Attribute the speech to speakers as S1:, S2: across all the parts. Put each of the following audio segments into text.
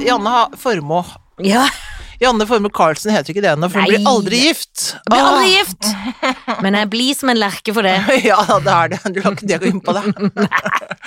S1: Janne ha- Formoe
S2: Ja,
S1: Janne Formoe Carlsen heter ikke det ennå, for hun blir
S2: Nei.
S1: aldri gift.
S2: blir aldri
S1: Ah.
S2: gift. Men jeg blir som en lerke for det.
S1: Ja, det er det. Du har ikke det å gå inn på, da.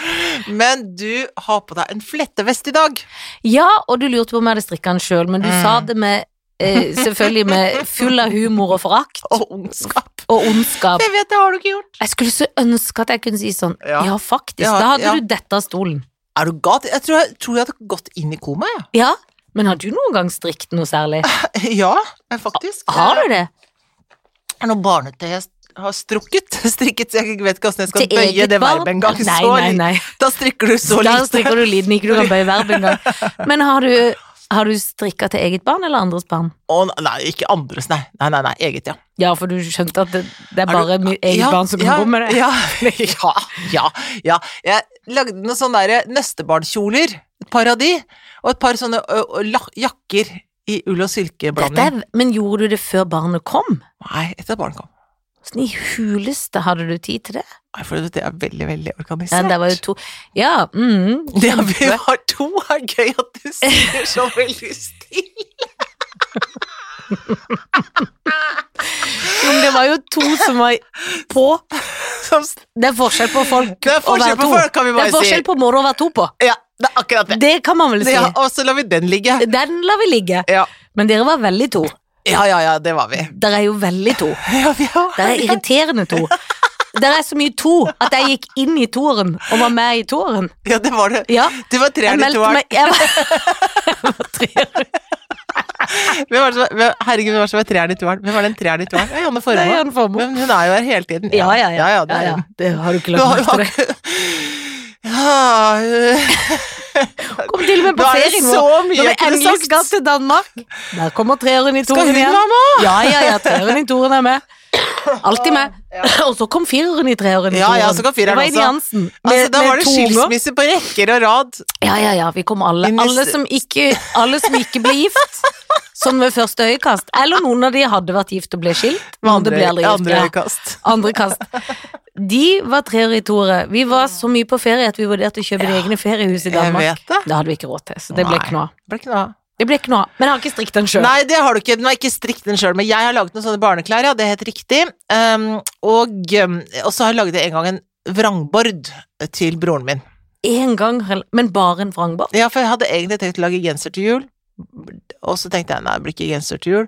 S1: Men du har på deg en flettevest i dag.
S2: Ja, og du lurte på om jeg hadde strikka den sjøl, men du
S1: Mm.
S2: sa det med eh, selvfølgelig med full av humor og forakt
S1: Og ondskap.
S2: og ondskap.
S1: Jeg vet det, har du ikke gjort.
S2: Jeg skulle så ønske at jeg kunne si sånn
S1: Ja.
S2: Ja, faktisk.
S1: Ja,
S2: da hadde
S1: ja.
S2: du dette av stolen.
S1: Er du gal? Jeg tror jeg, tror jeg hadde gått inn i koma, jeg.
S2: Ja, men har du noen gang strikt noe særlig?
S1: Ja, eh, faktisk.
S2: Har du det?
S1: Det er noe barnete jeg har strukket. Strikket, jeg vet ikke hvordan jeg skal
S2: Til
S1: bøye
S2: eget
S1: det
S2: barn?
S1: verbet engang.
S2: Nei,
S1: Så
S2: nei,
S1: li-
S2: nei.
S1: Da strikker du så
S2: Da
S1: lite.
S2: strikker du liten, ikke du kan bøye verb engang. Men har du, har du strikka til eget barn eller andres barn?
S1: Å, nei, ikke andres, nei. Nei, nei, nei, eget, ja.
S2: Ja, for du skjønte at det, det er
S1: Er du-
S2: bare mitt eget
S1: ja,
S2: barn som kan
S1: ja,
S2: gå med det?
S1: Ja, ja, ja, ja. Jeg lagde noen sånne der eh, nøstebarnkjoler, et par av de, og et par sånne ø, ø, lak- jakker i ull og
S2: Dette
S1: silkeblanding.
S2: er, men gjorde du det før barnet kom?
S1: Nei, etter barn kom.
S2: Hvordan i huleste hadde du tid til det?
S1: Nei, for det er veldig, veldig organisert.
S2: Men det var jo to Ja, mm,
S1: Det at vi var to, er gøy at du sier så veldig stille.
S2: jo, men det var jo to som var på.
S1: Som s-
S2: Det er forskjell på folk
S1: Det er
S2: å
S1: forskjell
S2: være
S1: på
S2: to.
S1: folk, kan vi
S2: det er
S1: bare si.
S2: forskjell på måter å være to på.
S1: Ja, det er akkurat det.
S2: Det kan man vel si.
S1: Ja, og så lar vi den ligge.
S2: Den lar vi ligge.
S1: Ja.
S2: Men dere var veldig to.
S1: ja, ja, ja, det var vi.
S2: Dere er jo veldig to.
S1: Ja, vi var-
S2: Dere er irriterende to. Dere er så mye to at jeg gikk inn i toeren og var med i toeren.
S1: ja det var det.
S2: Ja.
S1: Du var
S2: Jeg
S1: treeren i
S2: meldte
S1: toeren.
S2: meg jeg var, jeg var treeren.
S1: Hvem var det som var- hvem- Herregud, hvem var det som var treeren i toeren? Hvem var den treeren i toeren? Ja, Janne
S2: Det er
S1: Formoe.
S2: Jan Formoe.
S1: Men hun er jo her hele tiden.
S2: Ja, ja, ja.
S1: ja, ja, det er hun.
S2: Det har du ikke
S1: Du
S2: lagt
S1: har jo
S2: merke til. det.
S1: akkurat ja, øh,
S2: Kom til og med på
S1: Nå er det
S2: ferie nå.
S1: så mye
S2: Når vi
S1: jeg kunne
S2: endelig
S1: sagt.
S2: skal til Danmark. Der kommer treeren i
S1: Skal
S2: toeren
S1: hun
S2: igjen.
S1: være med?
S2: Ja, ja, ja, treeren i toeren er med. Alltid med. Og så kom fireren i treeren i
S1: Ja,
S2: toeren.
S1: ja, så kom fireren
S2: det var
S1: også.
S2: Ine Jansen. Med,
S1: Altså, da
S2: med
S1: var det
S2: to unger.
S1: skilsmisse på rekker og rad.
S2: Ja, ja, ja, vi kom alle.
S1: I neste-
S2: Alle som ikke, alle som ikke ble gift. Sånn ved første øyekast. Eller noen av de hadde vært gift og ble skilt.
S1: Med
S2: Andre ble aldri gift.
S1: andre
S2: Ja.
S1: øyekast.
S2: Andre kast. De var treere i toere. Vi var så mye på ferie at vi vurderte å kjøpe egne feriehus i
S1: Jeg
S2: Danmark.
S1: vet det.
S2: Det hadde vi ikke råd til, så det
S1: Nei.
S2: ble ikke noe av.
S1: Ble ikke noe av.
S2: Det ble ikke noe av, men jeg har ikke strikt den sjøl.
S1: Nei, det har du ikke. Den var ikke strikt den sjøl, men jeg har laget noen sånne barneklær, ja, det er helt riktig. Um, og, um, og så har jeg laget en gang en vrangbord til broren min.
S2: En gang, hel- men bare en vrangbord.
S1: Ja, for jeg hadde egentlig tenkt å lage genser til jul, og så tenkte jeg nei, det blir ikke genser til jul.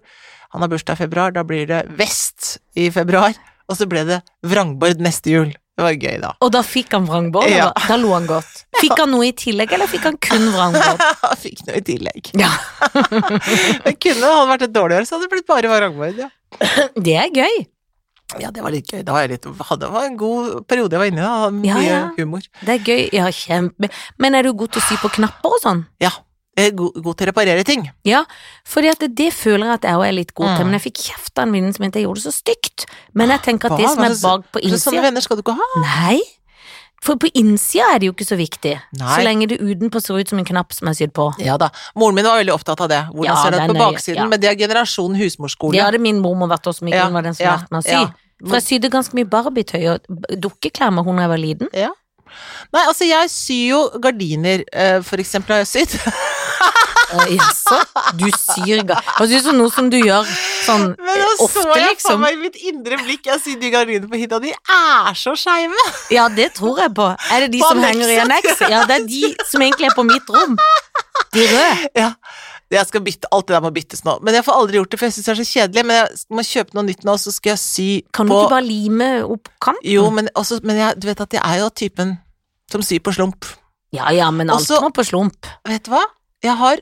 S1: Han har bursdag i februar, da blir det vest i februar, og så ble det vrangbord neste jul. Det var gøy, da.
S2: Og da fikk han vrangbord,
S1: Ja.
S2: da, da lo han godt. Fikk han noe i tillegg, eller fikk han kun vrangbord?
S1: Han fikk noe i tillegg.
S2: Ja,
S1: Men kunne det vært et dårlig år, så hadde det blitt bare vrangbord, ja.
S2: det er gøy.
S1: Ja, det var litt gøy. Det var, jeg litt, hadde, det var en god periode jeg var inne i, da. Hadde Mye
S2: Ja, ja.
S1: humor.
S2: Det er gøy, ja, kjempe... Men er du god til å sy på knapper og sånn?
S1: Ja. Jeg er god, god til å reparere ting.
S2: Ja, fordi at det føler jeg at jeg også er litt god til,
S1: Mm.
S2: men jeg fikk kjeft av en venninne som mente jeg gjorde det så stygt. Men jeg tenker at
S1: Hva?
S2: det som er
S1: Hva slags-
S2: bak på
S1: Så sånne
S2: innsida
S1: venner skal du ikke ha.
S2: Nei, for på innsida er det jo ikke så viktig.
S1: Nei.
S2: Så lenge det utenpå ser ut som en knapp som er sydd på.
S1: Ja da. Moren min var veldig opptatt av det. Hvordan
S2: Ja,
S1: ser det ut
S2: den
S1: på
S2: er-
S1: baksiden?
S2: ja.
S1: Men det er generasjon husmorskole.
S2: Det hadde min mormor vært også, som ikke
S1: Ja,
S2: hun var den som
S1: ja,
S2: lærte meg å sy.
S1: ja.
S2: For jeg sydde ganske mye barbietøy og b- dukkeklær med hun da jeg var liten.
S1: Nei, altså jeg syr jo gardiner, eh, for eksempel har jeg sydd.
S2: Eh, Jaså? Du syr ga... Hva synes du om noe som du gjør sånn
S1: Men
S2: eh,
S1: da så
S2: ofte,
S1: jeg for
S2: liksom?
S1: meg i mitt indre blikk, jeg sydde gardinene på hytta, de er så skeive!
S2: Ja, det tror jeg på. Er det de
S1: På
S2: som henger i en
S1: annekset?
S2: X? Ja, det er de som egentlig er på mitt rom. De røde.
S1: Ja. Jeg skal bytte, alt det der må byttes nå. Men jeg får aldri gjort det, for jeg syns det er så kjedelig. Men jeg må kjøpe noe nytt nå, så skal jeg sy
S2: Kan du
S1: på
S2: ikke bare lime opp kanten?
S1: Jo, men, også, men jeg, du vet at jeg er jo typen som syr på slump.
S2: Ja, ja, men alt
S1: Også-
S2: må på slump.
S1: Vet du hva? Jeg har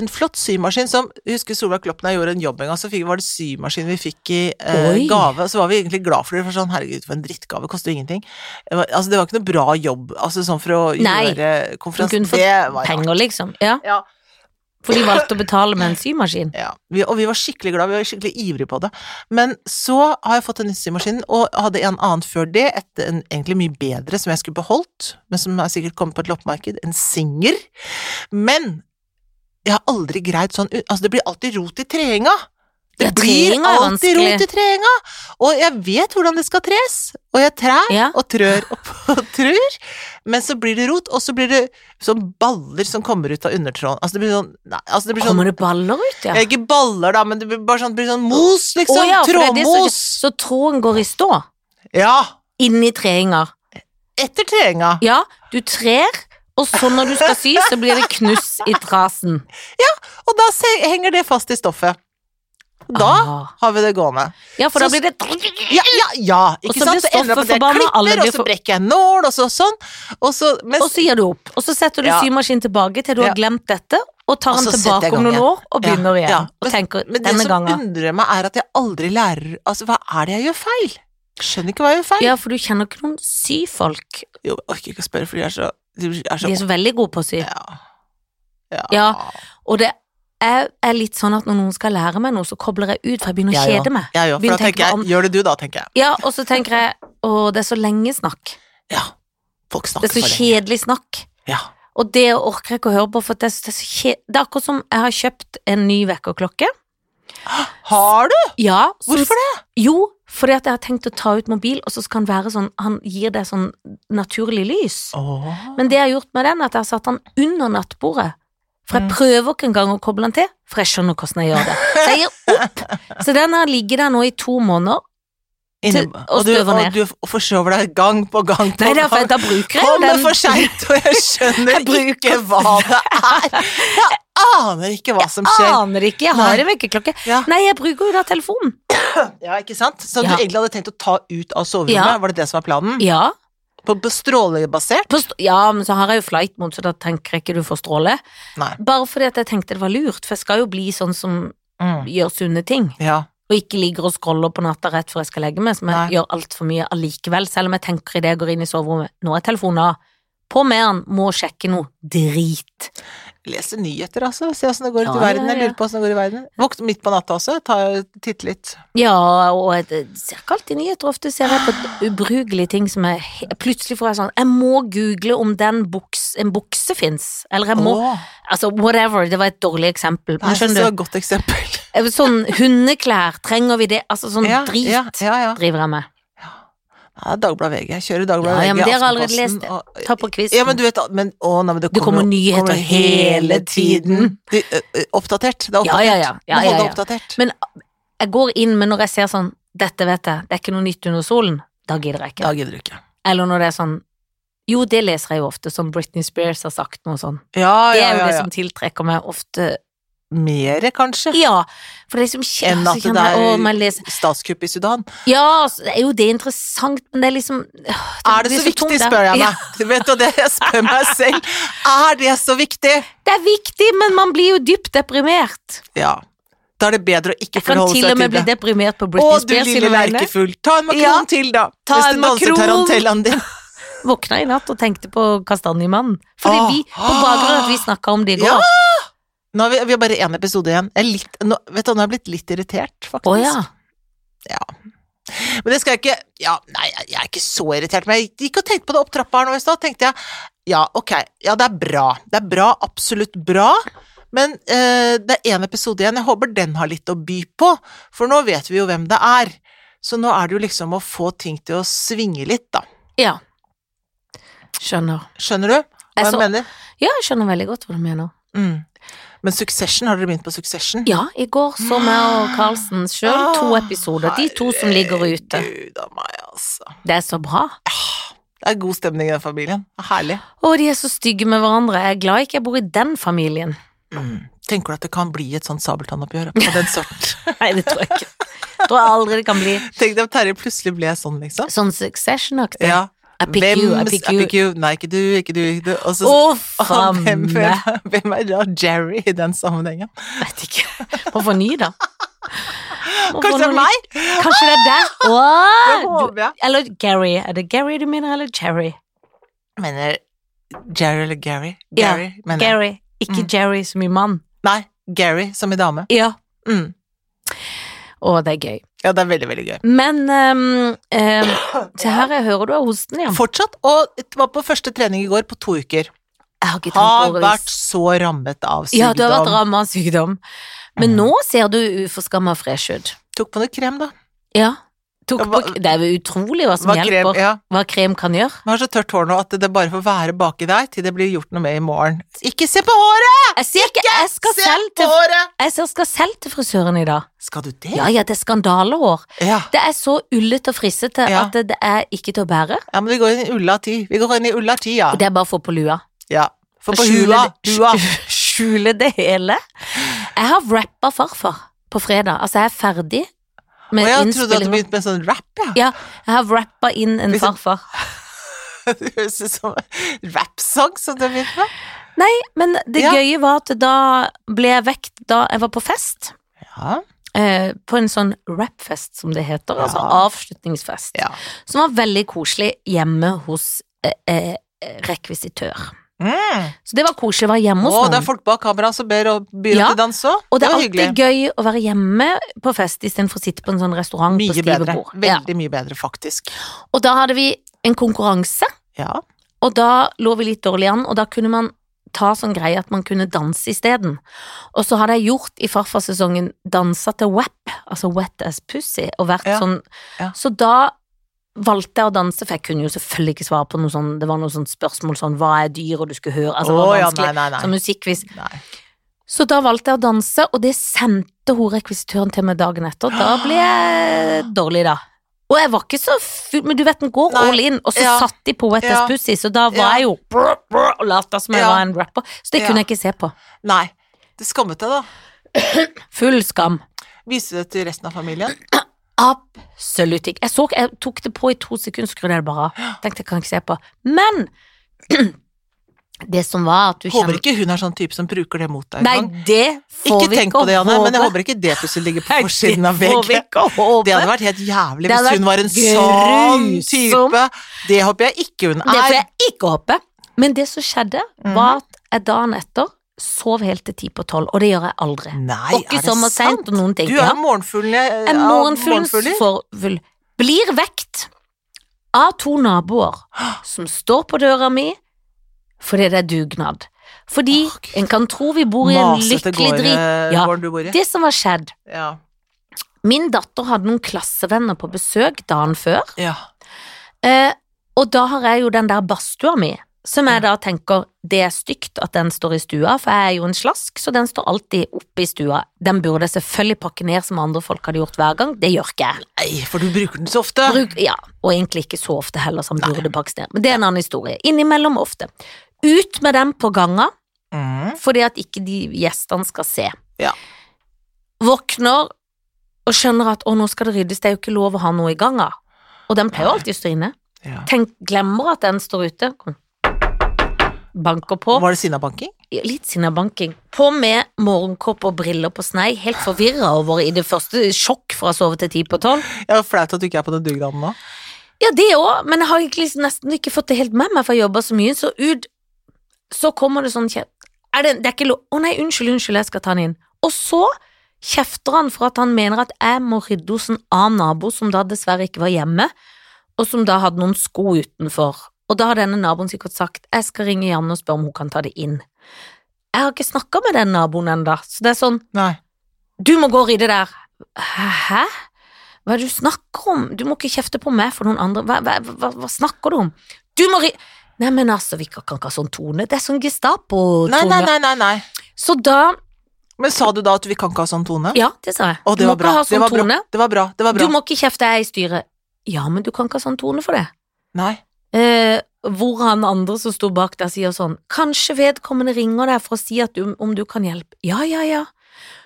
S1: en flott symaskin som jeg Husker Solveig Kloppen og jeg gjorde en jobb en gang, så fikk, var det symaskin vi fikk i eh,
S2: Oi.
S1: gave. Så var vi egentlig glad for det, for sånn herregud, for en drittgave, koster jo ingenting. Det var, altså, det var ikke noe bra jobb, altså sånn for å
S2: Nei.
S1: gjøre
S2: Du
S1: konferansen.
S2: kunne fått
S1: Det var rart.
S2: penger, liksom. Ja.
S1: Ja.
S2: For de valgte å betale med en symaskin.
S1: Ja, vi, og vi var skikkelig glad, vi var skikkelig ivrige på det. Men så har jeg fått en ny symaskin, og hadde en annen før det, et en, egentlig mye bedre, som jeg skulle beholdt, men som har sikkert kommet på et loppemarked, en Singer. Men jeg har aldri greid sånn Altså, det blir alltid rot i treenga. Det
S2: Ja,
S1: blir
S2: treing er
S1: alltid
S2: vanskelig.
S1: rot i treenga! Og jeg vet hvordan det skal tres, og jeg trær
S2: Ja.
S1: og trør og trur, men så blir det rot, og så blir det sånn baller som kommer ut av undertråden. Altså, det blir sånn Nei, altså, det blir sånn
S2: Kommer det baller ut, ja?
S1: ja, Ikke baller, da, men det blir bare sånn, det blir sånn mos, liksom.
S2: Å ja, for det er det som-
S1: Trådmos.
S2: Så tråden går i stå.
S1: Ja!
S2: Inni treenga.
S1: Etter treenga.
S2: Ja, du trer, og så når du skal sy, så blir det knuss i trasen.
S1: Og da se- henger det fast i stoffet. Da
S2: Ah.
S1: har vi det gående.
S2: Ja, for da
S1: Så-
S2: blir det
S1: Ja, ja, ja,
S2: Og
S1: ikke
S2: så
S1: sant?
S2: blir
S1: Så ender det opp
S2: stoffet
S1: med at jeg
S2: forbanna, alle
S1: klipper,
S2: blir
S1: og så
S2: for-
S1: brekker jeg en nål, og så sånn. Og så, mens,
S2: Og så gir du opp. Og så setter du
S1: Ja.
S2: symaskinen tilbake til du
S1: Ja.
S2: har glemt dette, og tar
S1: Og
S2: den
S1: så setter jeg
S2: tilbake
S1: i gang
S2: om noen
S1: igjen.
S2: år, og begynner
S1: Ja,
S2: igjen.
S1: ja.
S2: Og tenker
S1: men det
S2: denne
S1: som
S2: gangen.
S1: undrer meg, er at jeg aldri lærer Altså, hva er det jeg gjør feil? Skjønner ikke hva jeg gjør feil.
S2: Ja, for du kjenner ikke noen syfolk.
S1: Jo, jeg orker ikke å spørre, for de er så De er så,
S2: De er så veldig gode på å sy.
S1: ja.
S2: Ja, Og det er, er litt sånn at når noen skal lære meg noe, så kobler jeg ut, for jeg begynner å
S1: Jeg
S2: kjede meg.
S1: Ja, ja, for
S2: begynner
S1: da
S2: å tenke
S1: tenker
S2: på
S1: jeg
S2: an-
S1: Gjør det du, da, tenker jeg.
S2: Ja, og så tenker jeg å, det er så lenge snakk.
S1: Ja. Folk
S2: Det
S1: snakker
S2: er
S1: for
S2: så
S1: lenge.
S2: kjedelig snakk.
S1: Ja.
S2: Og det orker jeg ikke å høre på, for det er, så- det er så kje... Det er akkurat som jeg har kjøpt en ny vekkerklokke.
S1: Har du?
S2: Ja, som-
S1: Hvorfor det?
S2: Jo, fordi at jeg har tenkt å ta ut mobil, og så skal han være sånn Han gir deg sånn naturlig lys.
S1: Åh.
S2: Men det jeg har gjort med den, er at jeg har satt den under nattbordet. For jeg
S1: Mm.
S2: prøver ikke engang å koble den til, for jeg skjønner hvordan jeg gjør det. Så jeg gir opp. Så den har ligget der nå i to måneder.
S1: Inne-
S2: til- og
S1: og, du,
S2: støver
S1: og
S2: ned.
S1: du forsøver deg gang på gang på
S2: Nei, det er for
S1: gang.
S2: at da bruker jeg jo
S1: Kommer for
S2: den.
S1: seint, og jeg skjønner
S2: Jeg bruker-
S1: ikke hva det er. Jeg aner ikke hva som skjer.
S2: Aner ikke, jeg
S1: Nei.
S2: har en vekkerklokke.
S1: Ja.
S2: Nei, jeg bruker jo da telefonen.
S1: Ja, ikke sant? Så du
S2: Ja.
S1: egentlig hadde tenkt å ta ut av soverommet,
S2: Ja.
S1: var det det som var planen?
S2: Ja.
S1: På, på strålebasert?
S2: Forst- ja, men så har jeg jo flight mode, så da tenker jeg ikke du får stråle.
S1: Nei.
S2: Bare fordi at jeg tenkte det var lurt, for jeg skal jo bli sånn som gjør sunne ting.
S1: Ja.
S2: Og ikke ligger og scroller på natta rett før jeg skal legge meg, som jeg
S1: Nei.
S2: gjør altfor mye allikevel, selv om jeg tenker idet jeg går inn i soverommet Nå er telefonen av. På med den, må sjekke noe drit.
S1: Leser nyheter, altså. Se åssen det går ute i
S2: Ja,
S1: verden.
S2: ja,
S1: Jeg
S2: ja.
S1: lurer på åssen det går i verden. Våkne midt på natta også. Ta, titte litt.
S2: Ja, og jeg jeg ser ikke alltid nyheter. Ofte ser jeg på ubrukelige ting som jeg he- Plutselig får jeg sånn Jeg må google om den buks, en bukse fins. Eller jeg må
S1: Åh,
S2: Altså, whatever. Det var et dårlig eksempel.
S1: det
S2: Men
S1: er så-
S2: skjønner
S1: så godt eksempel.
S2: du, sånn hundeklær, trenger vi det? Altså sånn
S1: Ja,
S2: drit
S1: ja, ja, ja.
S2: driver jeg med.
S1: Ja, Dagbladet VG. Jeg kjører Dagbladet
S2: Ja, ja,
S1: VG.
S2: men dere har allerede
S1: Aftenposten
S2: lest det.
S1: og-
S2: Ta på kvisten.
S1: Ja, men du vet at- men, å, nei, men det,
S2: Det kommer
S1: jo-
S2: nyheter
S1: kommer
S2: hele tiden.
S1: Du, ø, ø, oppdatert. Det er oppdatert.
S2: Ja, ja, ja. Ja,
S1: Du må holde
S2: ja,
S1: deg
S2: ja.
S1: oppdatert.
S2: Men jeg går inn, men når jeg ser sånn Dette vet jeg, det er ikke noe nytt under solen Da gidder jeg ikke
S1: Da gidder du ikke.
S2: Eller når det er sånn Jo, det leser jeg jo ofte Som Britney Spears har sagt noe sånn
S1: Ja,
S2: Det
S1: ja,
S2: er jo
S1: ja.
S2: det
S1: ja.
S2: som tiltrekker meg ofte
S1: Mere, kanskje?
S2: Ja, for det er liksom kjent
S1: Enn at det
S2: Å,
S1: er-
S2: man leser
S1: Statskupp i Sudan.
S2: Ja, så er jo det interessant Men det er liksom øh,
S1: Er det
S2: blir
S1: så viktig,
S2: tungt, det.
S1: spør jeg
S2: Ja,
S1: meg. Du vet jo det, jeg spør meg selv. Er det så viktig?
S2: Det er viktig, men man blir jo dypt deprimert
S1: Ja. Da er det bedre å ikke
S2: Jeg kan
S1: forholde
S2: til
S1: seg
S2: og
S1: til
S2: med bli
S1: det.
S2: deprimert på
S1: Å,
S2: Britney
S1: du
S2: Spears
S1: lille
S2: sine vegne
S1: lerkefull. Ta en makron
S2: Ja.
S1: til, da.
S2: Ta
S1: Hvis
S2: en
S1: du danser
S2: makron.
S1: tarantellaen din.
S2: Våkna i natt og tenkte på Kastanjemannen Fordi
S1: Ah.
S2: vi, på bakgrunn av at vi snakket om det i går
S1: Ja. Nå har vi, vi har bare én episode igjen. Jeg er litt, nå, vet du, nå har jeg blitt litt irritert, faktisk.
S2: Å ja.
S1: Men det skal jeg ikke Ja, nei, jeg jeg er ikke så irritert, men jeg gikk og tenkte på det opp trappa her nå i stad, tenkte jeg. Ja, ok. Ja, det er bra. Det er bra, absolutt bra. Men eh, det er én episode igjen. Jeg håper den har litt å by på, for nå vet vi jo hvem det er. Så nå er det jo liksom å få ting til å svinge litt, da.
S2: Ja. Skjønner.
S1: Skjønner du hva
S2: Jeg
S1: jeg
S2: så-
S1: mener?
S2: Ja, jeg skjønner veldig godt hva du mener.
S1: Mm. Men Succession, har dere begynt på Succession?
S2: Ja, i går så meg og Carlsen sjøl
S1: Ah.
S2: to episoder. De to som ligger ute.
S1: Gud a meg, altså.
S2: Det er så bra.
S1: Det er god stemning i den familien. Det er Herlig.
S2: Og de er så stygge med hverandre. Jeg er glad ikke jeg bor i den familien.
S1: Mm. Tenker du at det kan bli et sånt sabeltannoppgjør på den sorten?
S2: Nei, det tror jeg ikke. Tror jeg aldri det kan bli
S1: Tenk deg om Terje plutselig ble sånn, liksom.
S2: sånn succession-aktig.
S1: Ja.
S2: I pick you, I
S1: s-
S2: pick you.
S1: Nei, ikke du, ikke du, ikke du. Og så,
S2: Å,
S1: Åh, hvem,
S2: famme.
S1: hvem, hvem er da Jerry i den sammenhengen?
S2: Vet ikke. Må få ny, da. Må få
S1: Kanskje det
S2: noe
S1: er
S2: nytt.
S1: meg?
S2: Kanskje det er deg.
S1: Det
S2: Åh,
S1: håper jeg.
S2: du- Eller Gary. Er det Gary du mener, eller Cherry?
S1: Mener Jerry eller Gary?
S2: Ja,
S1: Gary, mener jeg.
S2: Gary, ikke
S1: Mm.
S2: Jerry som i mann.
S1: Nei, Gary som i dame.
S2: Ja.
S1: Mm.
S2: Å, det er gøy.
S1: Ja, det er veldig, veldig gøy.
S2: Men ehm, ehm, Se her, jeg hører du har hosten, ja.
S1: Fortsatt, og det var på første trening i går på to uker.
S2: Jeg har ikke tenkt
S1: Har
S2: over hvis-
S1: vært så rammet av sykdom. Mm.
S2: Ja, du har vært rammet av sykdom. Men nå ser du uforskamma fresh ut.
S1: Tok på noe krem, da.
S2: Ja. Tok
S1: Ja,
S2: på,
S1: hva-
S2: det er jo utrolig hva som
S1: Hva krem,
S2: hjelper.
S1: ja.
S2: Hva krem kan gjøre.
S1: Jeg har så tørt hår nå at det bare får være baki der til det blir gjort noe med i morgen. Ikke se på håret!
S2: Jeg sier ikke Jeg skal
S1: Se
S2: selv
S1: på
S2: til,
S1: håret!
S2: jeg ser- skal selv til frisøren i dag.
S1: Skal du det?
S2: Ja, ja, det er skandalehår.
S1: Ja.
S2: Det er så ullete og frissete
S1: Ja.
S2: at det, det er ikke til å bære.
S1: Ja, men vi går inn i ulla ti. Vi går inn i ulla ti, ja.
S2: Og det er bare å få på lua.
S1: ja. For på
S2: Skjule
S1: hua,
S2: det-
S1: hua.
S2: Skjule det hele. Jeg har rappa farfar på fredag. Altså, jeg er ferdig
S1: Og
S2: med
S1: jeg trodde at du
S2: innspillinga.
S1: begynte med sånn rap, ja.
S2: Ja, jeg har rappa inn en
S1: Hvis-
S2: farfar.
S1: Det høres ut som en rap-sang som du har begynt med.
S2: Nei, men det
S1: Ja.
S2: gøye var at da ble jeg vekt da jeg var på fest.
S1: Ja.
S2: Eh, på en sånn rapfest, som det heter. Altså
S1: Ja.
S2: avslutningsfest.
S1: ja.
S2: Som var veldig koselig hjemme hos eh, eh, rekvisitør.
S1: Mm.
S2: Så det var koselig å være hjemme hos
S1: Å, det er
S2: noen.
S1: folk bak kamera som ber og byr
S2: Ja,
S1: opp til dans òg.
S2: Og det er
S1: var
S2: alltid
S1: hyggelig.
S2: gøy å være hjemme på fest istedenfor å sitte på en sånn restaurant på
S1: Mye
S2: stive
S1: bedre.
S2: bord. Ja.
S1: Veldig mye bedre, faktisk.
S2: Og da hadde vi en konkurranse,
S1: Ja.
S2: og da lå vi litt dårlig an, og da kunne man ta sånn greie at man kunne danse isteden. Og så hadde jeg gjort i farfarsesongen dansa til WAP, altså Wet As Pussy, og vært
S1: Ja,
S2: sånn.
S1: ja.
S2: Så da valgte jeg å danse, for jeg kunne jo selvfølgelig ikke svare på noe sånn, det var noe sånn spørsmål sånn, hva er dyr, og du skulle høre, altså det
S1: Å,
S2: var
S1: ja,
S2: vanskelig,
S1: nei, nei,
S2: sånn
S1: nei.
S2: musikkvis.
S1: nei.
S2: Så da valgte jeg å danse, og det sendte hun rekvisitøren til meg dagen etter. Da ble jeg dårlig, da. Og jeg var ikke så full, men du vet den går
S1: Nei.
S2: all in, og så
S1: Ja.
S2: satt de på Wet As
S1: Ja.
S2: Pussy, så
S1: Ja.
S2: da var jeg jo brr, brr, og lot som jeg
S1: Ja.
S2: var en rapper. Så det
S1: Ja.
S2: kunne jeg ikke se på.
S1: Nei. Du skammet deg, da.
S2: Full skam.
S1: Viste det til resten av familien.
S2: Absolutt ikke. Jeg, så, jeg tok det på i to sekunder, skrudde jeg det bare av. Tenkte jeg kan ikke se på. Men det som var at du
S1: Håper
S2: kjenner
S1: ikke hun er sånn type som bruker det mot deg
S2: Nei,
S1: engang.
S2: det får
S1: Ikke
S2: vi
S1: tenk
S2: ikke
S1: på det, Anne, men jeg
S2: håpe.
S1: håper ikke det plutselig ligger på
S2: Nei,
S1: forsiden av
S2: det får vi
S1: VG.
S2: ikke håpe.
S1: Det hadde vært helt jævlig
S2: Det hadde
S1: hvis hun var en sånn
S2: vært
S1: type. Det håper jeg ikke hun
S2: Det får
S1: er.
S2: jeg ikke håpe. Men det som skjedde,
S1: Mhm.
S2: var at jeg dagen etter sov helt til ti på tolv, og det gjør jeg aldri.
S1: Nei,
S2: Og ikke
S1: er det
S2: sommer
S1: sant?
S2: seint og noen ting.
S1: Du
S2: ja.
S1: er morgenfuglen jeg-
S2: Jeg er
S1: av
S2: morgenfuglens
S1: morgenfugler.
S2: forfull. Blir vekt av to naboer som står på døra mi fordi det er dugnad. Fordi
S1: Åh, Gud.
S2: en kan tro vi bor i en
S1: Masete
S2: lykkelig
S1: gårde-
S2: drit. Ja.
S1: gården du bor i.
S2: Det som var skjedd
S1: Ja.
S2: Min datter hadde noen klassevenner på besøk dagen før.
S1: ja.
S2: Eh, og da har jeg jo den der badstua mi, som jeg da tenker det er stygt at den står i stua, for jeg er jo en slask, så den står alltid oppe i stua. Den burde jeg selvfølgelig pakke ned som andre folk hadde gjort hver gang, det gjør ikke jeg.
S1: Nei, for du bruker den så ofte.
S2: Bruk, ja, og egentlig ikke så ofte heller som burde pakkes ned, men det er en annen historie. Innimellom ofte. Ut med dem på ganga,
S1: Mm.
S2: fordi at ikke de gjestene skal se.
S1: Ja.
S2: Våkner og skjønner at å, nå skal det ryddes, det er jo ikke lov å ha noe i ganga. Og den pleier jo alltid å stå inne
S1: Ja.
S2: tenk, glemmer at den står ute. Kom. Banker på.
S1: Var det sinnabanking?
S2: Litt sinnabanking. På med morgenkåpe og briller på snei, helt forvirra over i det første sjokk fra å sove til ti på tolv.
S1: Ja, flaut at du ikke er på den dugnaden nå.
S2: Ja, det òg, men jeg har egentlig nesten ikke fått det helt med meg, for jeg jobber så mye. Så ut Så kommer det sånn kjeft er det, det er ikke lov Å nei, unnskyld, unnskyld, jeg skal ta den inn. Og så kjefter han for at han mener at jeg må rydde hos en annen nabo som da dessverre ikke var hjemme, og som da hadde noen sko utenfor. Og da har denne naboen sikkert sagt jeg skal ringe Janne og spørre om hun kan ta det inn. Jeg har ikke snakka med den naboen ennå, så det er sånn
S1: Nei.
S2: du må gå og rydde der. Hæ? Hva er det du snakker om? Du må ikke kjefte på meg for noen andre. Hva, hva, hva, hva snakker du om? Du må ri... Nei, men altså, vi kan kan ikke ha sånn tone. Det er sånn
S1: Nei, nei,
S2: Gestapo-tone.
S1: nei, nei, nei.
S2: Så da
S1: Men sa du da at vi kan ikke ha sånn tone?
S2: Ja, det sa jeg.
S1: Å, det
S2: du må
S1: var bra.
S2: ikke ha
S1: det,
S2: sånn
S1: var bra.
S2: tone.
S1: det var bra. Det var bra.
S2: Du må ikke kjefte, jeg er i styret. Ja, men du kan ikke ha sånn tone for det.
S1: Nei.
S2: Eh, hvor han andre som sto bak der sier sånn Kanskje vedkommende ringer deg for å si at du, om du kan hjelpe. Ja, ja, ja.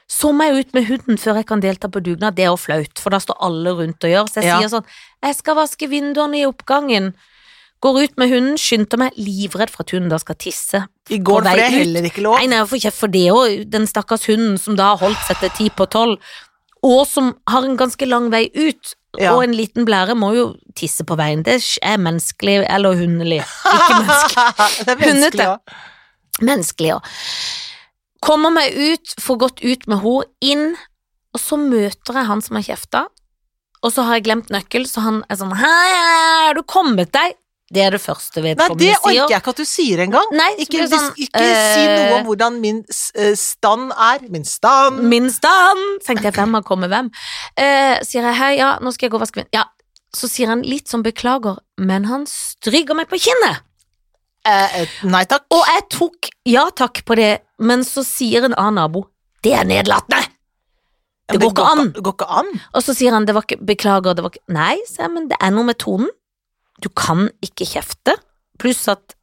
S2: Så må jeg ut med hunden før jeg kan delta på dugnad. Det er jo flaut, for da står alle rundt og gjør. Så jeg
S1: Ja.
S2: sier sånn Jeg skal vaske vinduene i oppgangen. Går ut med hunden, skynder meg, livredd for at hunden da skal tisse.
S1: I går,
S2: vei
S1: for det er
S2: ut.
S1: heller ikke lov.
S2: Nei, nei, jeg får kjeft for det òg. Den stakkars hunden som da har holdt seg til ti på tolv, og som har en ganske lang vei ut.
S1: Ja.
S2: Og en liten blære må jo tisse på veien. Det er menneskelig, eller hundelig. Ikke menneskelig.
S1: det er menneskelig
S2: Hundete.
S1: òg.
S2: Menneskelig òg. Kommer meg ut, får gått ut med henne, inn, og så møter jeg han som har kjefta. Og så har jeg glemt nøkkel, så han er sånn Hei, er du kommet deg? Det er det første
S1: Nei,
S2: vedkommende
S1: det orker
S2: sier.
S1: jeg ikke at du sier engang.
S2: Nei, så
S1: Ikke,
S2: blir det sånn,
S1: dis- ikke si noe
S2: eh,
S1: om hvordan min s- eh, stand er. Min stand
S2: Min stand! Tenkte jeg, hvem har kommet hvem? Eh, sier jeg hei, ja, nå skal jeg gå og vaske min Ja, så sier han litt sånn beklager, men han stryker meg på kinnet.
S1: eh, eh, Nei takk.
S2: Og jeg tok ja takk på det, men så sier en annen nabo det er nedlatende!
S1: Ja, men
S2: det går ikke an.
S1: Det går ikke an.
S2: Og så sier han det var ikke beklager, det var ikke Nei, sier jeg, men det er noe med tonen. Du kan ikke kjefte. Pluss at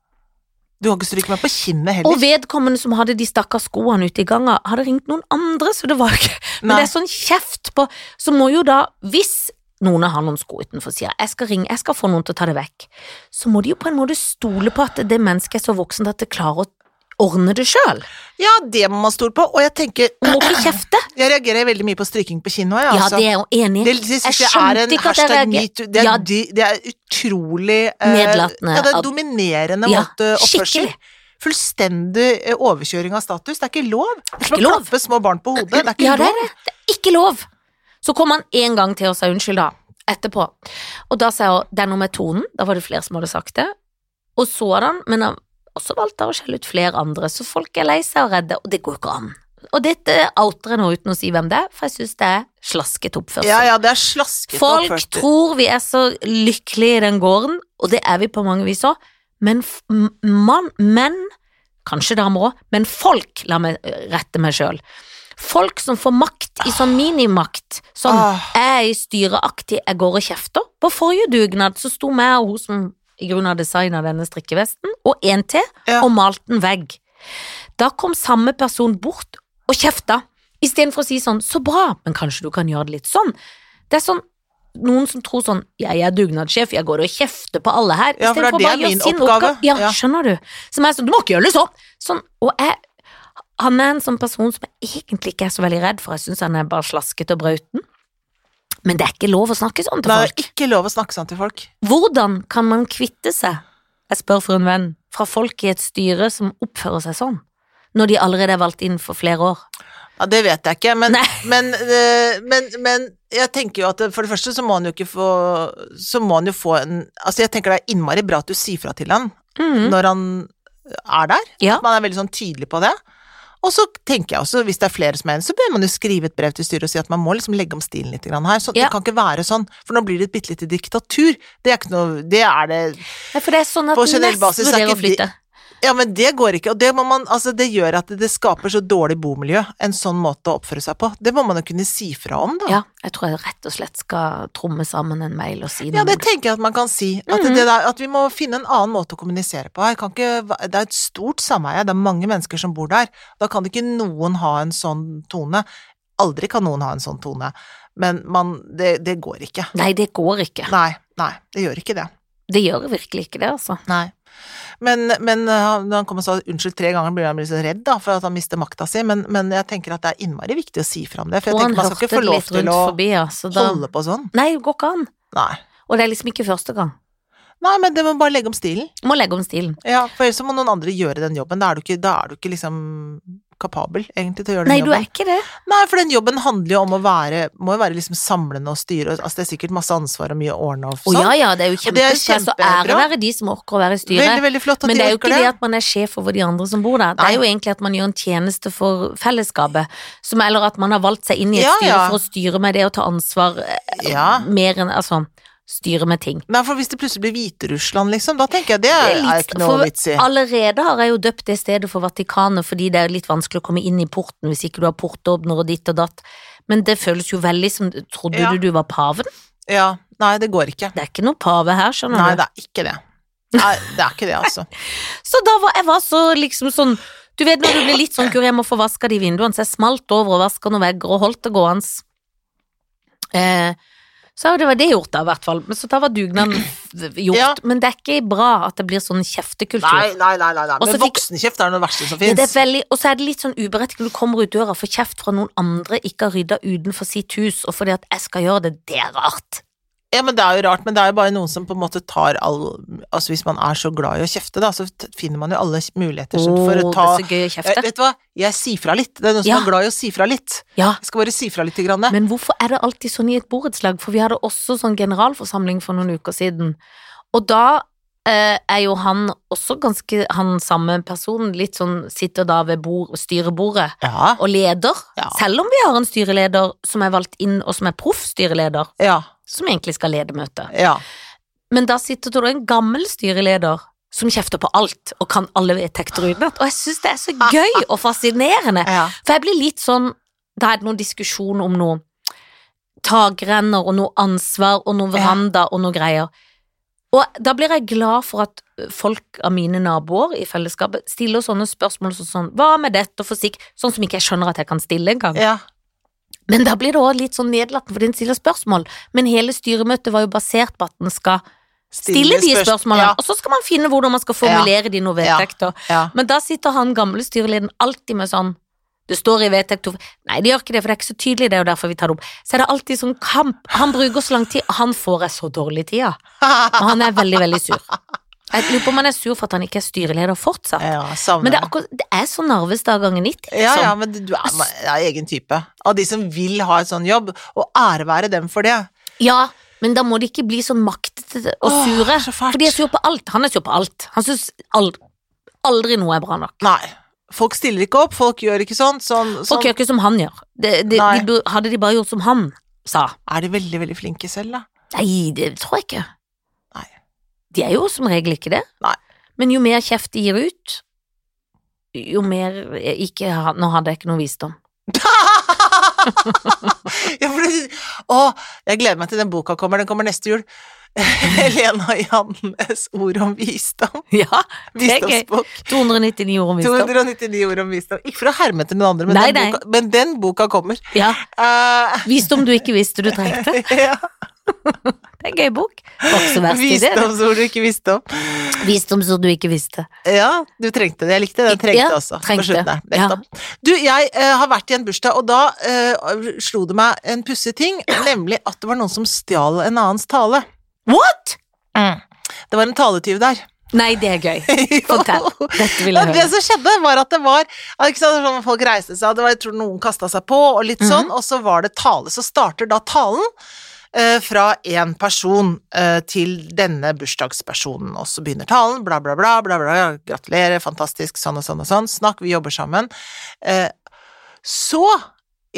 S1: Du kan ikke stryke meg på kinnet heller.
S2: Og vedkommende som hadde de stakkars skoene ute i ganga, hadde ringt noen andre, så det var jo ikke Men
S1: Nei.
S2: det er sånn kjeft på Så må jo da, hvis noen har noen sko utenfor, sier jeg, jeg skal ringe, jeg skal få noen til å ta det vekk, så må de jo på en måte stole på at det mennesket er så voksent at det klarer å ordne det sjøl.
S1: Ja, det må man stole på. Og jeg tenker
S2: Du må ikke kjefte.
S1: Jeg reagerer veldig mye på stryking på kinnet òg, jeg.
S2: Ja,
S1: altså.
S2: det er jeg jo enig i.
S1: Det, det, synes
S2: Mm. Jeg
S1: jeg er en
S2: skjønte ikke at jeg
S1: hashtag
S2: reager-
S1: metoo. Det, er
S2: Ja.
S1: de- det er utrolig eh,
S2: Nedlatende
S1: Ja, det er
S2: at-
S1: dominerende
S2: Ja,
S1: måte oppførsel.
S2: skikkelig.
S1: Fullstendig eh, overkjøring av status. Det er ikke lov. Det er
S2: ikke
S1: som å
S2: lov.
S1: klappe små barn på hodet. Det er ikke
S2: Ja, det er
S1: lov.
S2: det. Det er ikke lov. Så kom han en gang til og sa unnskyld, da, etterpå. Og da sa jeg også, det er noe med tonen, da var det flere som hadde sagt det. Og så hadde han, men han også valgte å skjelle ut flere andre, så folk er lei seg og redde, og det går jo ikke an. Og dette outer jeg nå uten å si hvem det er, for jeg syns det er slasket oppførsel.
S1: Ja, ja, det er slaskete
S2: Folk
S1: oppførsel.
S2: tror vi er så lykkelige i den gården, og det er vi på mange vis òg, men f- m- mann, menn, kanskje damer òg, men folk, la meg ø, rette meg sjøl. Folk som får makt i sånn minimakt, sånn
S1: Ah.
S2: jeg er i styret aktiv, jeg går og kjefter. På forrige dugnad så sto meg og hun som i grunnen har designa denne strikkevesten, og en til,
S1: Ja.
S2: og malte en vegg. Da kom samme person bort og kjefta, istedenfor å si sånn 'så bra, men kanskje du kan gjøre det litt sånn'. Det er sånn noen som tror sånn 'jeg er dugnadssjef, jeg går og kjefter på alle her',
S1: Ja, for det er
S2: istedenfor
S1: det
S2: bare å
S1: er
S2: gjøre
S1: min
S2: sin
S1: oppgave.
S2: oppgave. Ja,
S1: Ja.
S2: skjønner du. Som er sånn 'du må ikke gjøre det sånn'. sånn og jeg, han er en sånn person som jeg egentlig ikke er så veldig redd for, jeg syns han er bare slaskete og brauten. Men det er ikke lov å snakke sånn til
S1: Det
S2: folk.
S1: er ikke lov å snakke sånn til folk.
S2: Hvordan kan man kvitte seg, jeg spør for en venn, fra folk i et styre som oppfører seg sånn, når de allerede er valgt inn for flere år?
S1: Ja, Det vet jeg ikke, men,
S2: Nei.
S1: men, eh, men, men jeg tenker jo at eh, for det første så må han jo ikke få Så må han jo få en Altså, jeg tenker det er innmari bra at du sier fra til han
S2: Mhm.
S1: når han er der.
S2: Ja.
S1: Man er veldig sånn tydelig på det. Og så tenker jeg også, hvis det er flere som er enig, så bør man jo skrive et brev til styret og si at man må liksom legge om stilen litt grann her. Så
S2: Ja.
S1: Det kan ikke være sånn, for nå blir det et bitte lite diktatur. Det er ikke noe Det er det
S2: Nei, for det er sånn at
S1: På generell
S2: Nest
S1: basis er
S2: vurderer
S1: ikke
S2: å
S1: de-
S2: flytte.
S1: Ja, men det går ikke. Og det må man Altså, det gjør at det skaper så dårlig bomiljø, en sånn måte å oppføre seg på. Det må man jo kunne si fra om, da.
S2: Ja, jeg tror jeg rett og slett skal tromme sammen en mail og si noe.
S1: Ja, det tenker jeg at man kan si. At,
S2: Mhm.
S1: det der, at vi må finne en annen måte å kommunisere på. Jeg kan ikke, va- det er et stort sameie, det er mange mennesker som bor der. Da kan ikke noen ha en sånn tone. Aldri kan noen ha en sånn tone. Men man, det, det går ikke.
S2: Nei, det går ikke.
S1: Nei, nei, det gjør ikke det.
S2: Det gjør virkelig ikke det, altså.
S1: Nei. Men, men uh, når han kom og sa unnskyld tre ganger, blir han litt så redd da, for at han mister makta si, men, men jeg tenker at det er innmari viktig å si fra om det. For jeg
S2: Og han
S1: tenker man skal
S2: hørte
S1: ikke få
S2: det
S1: lov
S2: litt
S1: til
S2: rundt
S1: å
S2: forbi, ja, så da
S1: holde på sånn.
S2: Nei, det går ikke an.
S1: Nei.
S2: Og det er liksom ikke første gang.
S1: Nei, men det må bare legge om stilen.
S2: Må legge om stilen.
S1: Ja, for ellers så må noen andre gjøre den jobben. Da er du ikke, da er du ikke liksom kapabel, egentlig, til å gjøre den
S2: Nei, du er
S1: jobben.
S2: ikke det.
S1: Nei, for den jobben handler jo om å være Må jo være liksom samlende og styre, og- altså det er sikkert masse ansvar og mye å ordne og
S2: Å
S1: sånn.
S2: ja, ja, det er jo
S1: Og det er
S2: kjempestress og
S1: kjempebra.
S2: ære være de som orker å være i
S1: veldig,
S2: styret.
S1: veldig flott at
S2: Men
S1: de
S2: det er jo
S1: orker
S2: ikke det at man er sjef over de andre som bor der. Det
S1: Nei.
S2: er jo egentlig at man gjør en tjeneste for fellesskapet. Som, eller at man har valgt seg inn i et
S1: Ja,
S2: styre
S1: ja.
S2: for å styre med det og ta ansvar eh,
S1: Ja.
S2: mer enn Altså, styre med ting.
S1: Nei, for hvis det plutselig blir Hviterussland, liksom, da tenker jeg det
S2: er
S1: er,
S2: litt-
S1: ikke noe
S2: for-
S1: vits i.
S2: Allerede har jeg jo døpt det stedet for Vatikanet, fordi det er litt vanskelig å komme inn i porten hvis ikke du har portåpner og ditt og datt. Men det føles jo veldig som Trodde
S1: Ja.
S2: du du var paven?
S1: Ja, nei, det går ikke.
S2: Det er ikke noe pave her, skjønner
S1: Nei,
S2: du.
S1: det er ikke det. Nei, det er ikke det, altså.
S2: Så da var jeg var så liksom sånn Du vet når du blir litt sånn kur, jeg må få vaska de vinduene, så jeg smalt over og vaska noen vegger og holdt det gående. Eh, så det var det gjort, da, i hvert fall. Men så da var dugnaden f- gjort.
S1: Ja.
S2: Men det er ikke bra at det blir sånn kjeftekultur.
S1: Nei, nei, nei, nei, nei.
S2: Og så
S1: Men
S2: fikk-
S1: voksenkjeft er noe verste som
S2: Ja, det er
S1: fins.
S2: veldig, og så er det litt sånn uberettiget. Du kommer ut døra og får kjeft fra noen andre ikke har rydda utenfor sitt hus, og fordi at jeg skal gjøre det, det er rart.
S1: Ja, men det er jo rart, men det er jo bare noen som på en måte tar all Altså hvis man er så glad i å kjefte, da, så t- finner man jo alle muligheter
S2: Åh,
S1: sånn, for å ta
S2: det er så gøy å
S1: Jeg,
S2: kjefte.
S1: vet du hva, jeg sier fra litt. Det er noen som
S2: Ja.
S1: er glad i å si fra litt.
S2: Ja,
S1: Jeg skal bare si fra litt. Grann.
S2: men hvorfor er det alltid sånn i et borettslag? For vi hadde også sånn generalforsamling for noen uker siden, og da eh, er jo han også ganske han samme personen. Litt sånn sitter da ved bord, styrebordet
S1: Ja.
S2: og leder.
S1: Ja.
S2: Selv om vi har en styreleder som er valgt inn, og som er proff styreleder,
S1: Ja.
S2: som egentlig skal lede møtet.
S1: ja.
S2: Men da sitter det da en gammel styreleder som kjefter på alt og kan alle vedtekter utenat. Og jeg syns det er så gøy og fascinerende.
S1: ja.
S2: For jeg blir litt sånn Da er det noen diskusjon om noe takrenner og noe ansvar og noe
S1: Ja.
S2: veranda og noe greier. Og da blir jeg glad for at folk av mine naboer i fellesskapet stiller sånne spørsmål som sånn Hva med dette og forsikk? Sånn som ikke jeg skjønner at jeg kan stille engang.
S1: ja.
S2: Men da blir det også litt sånn nedlatende fordi en stiller spørsmål. Men hele styremøtet var jo basert på at en skal stille de
S1: spørs-
S2: spørsmålene,
S1: Ja.
S2: og så skal man finne hvordan man skal formulere de noen
S1: Ja.
S2: vedtekter.
S1: ja.
S2: Men da sitter han gamle styrelederen alltid med sånn det står i vedtekt to Nei, det gjør ikke det, for det er ikke så tydelig, det er jo derfor vi tar det opp. Så er det alltid sånn kamp. Han bruker så lang tid, og han får jeg så dårlig tid av. Og han er veldig, veldig sur. Jeg lurer på om han er sur for at han ikke er styreleder fortsatt.
S1: ja savner
S2: Men det er akkurat Det er så Narvestad ganger 90, liksom.
S1: Ja, ja, men du er, er egen type. Av de som vil ha en sånn jobb, og ære være dem for det.
S2: Ja, men da må de ikke bli sånn så maktete og
S1: Åh,
S2: sure.
S1: så fælt.
S2: for de er sur på alt. Han er sur på alt. Han syns aldri, aldri noe er bra nok.
S1: Nei. Folk stiller ikke opp, folk gjør ikke sånt. Sånn, sånn.
S2: Folk gjør ikke som han gjør. Det, det,
S1: Nei.
S2: de, bur- hadde de bare gjort som han sa.
S1: Er de veldig, veldig flinke selv, da?
S2: Nei, det tror jeg ikke.
S1: Nei.
S2: De er jo som regel ikke det.
S1: Nei.
S2: Men jo mer kjeft de gir ut, jo mer eh, ikke, Nå hadde jeg ikke noe visdom.
S1: ja, for det, å, jeg gleder meg til den boka kommer. Den kommer neste jul. Helena Jannes ord om visdom.
S2: Ja, det er gøy.
S1: Visdomsbok.
S2: 299 ord om visdom.
S1: 299 ord om visdom. Ikke for å herme etter noen andre, men,
S2: Nei,
S1: den,
S2: nei.
S1: boka, men den boka kommer.
S2: Ja,
S1: Eh,
S2: Visdom du ikke visste du trengte.
S1: ja,
S2: Det er en gøy bok. Det var ikke så verst i det. det.
S1: visdomsord du ikke visste om.
S2: Visdomsord du ikke visste.
S1: Ja, du trengte det. Jeg likte det. Jeg trengte
S2: Ja,
S1: også. på
S2: trengte.
S1: slutten der.
S2: Ja.
S1: Nettopp. Du, jeg eh, har vært i en bursdag, og da eh, slo det meg en pussig ting, nemlig at det var noen som stjal en annens tale. Mm.
S2: What?!
S1: Det var en taletyv der.
S2: Nei, det er gøy. Fortell. Dette vil
S1: Ja,
S2: jeg
S1: det
S2: høre.
S1: som skjedde, var at det var ja, ikke sant, sånn, Folk reiste seg, og det var, jeg tror noen kasta seg på, og litt sånn, og så var det tale. Så starter da talen eh, fra én person eh, til denne bursdagspersonen, og så begynner talen, bla, bla, bla, bla, bla, ja, gratulerer, fantastisk, sånn og sånn og sånn, snakk, vi jobber sammen. Eh, så,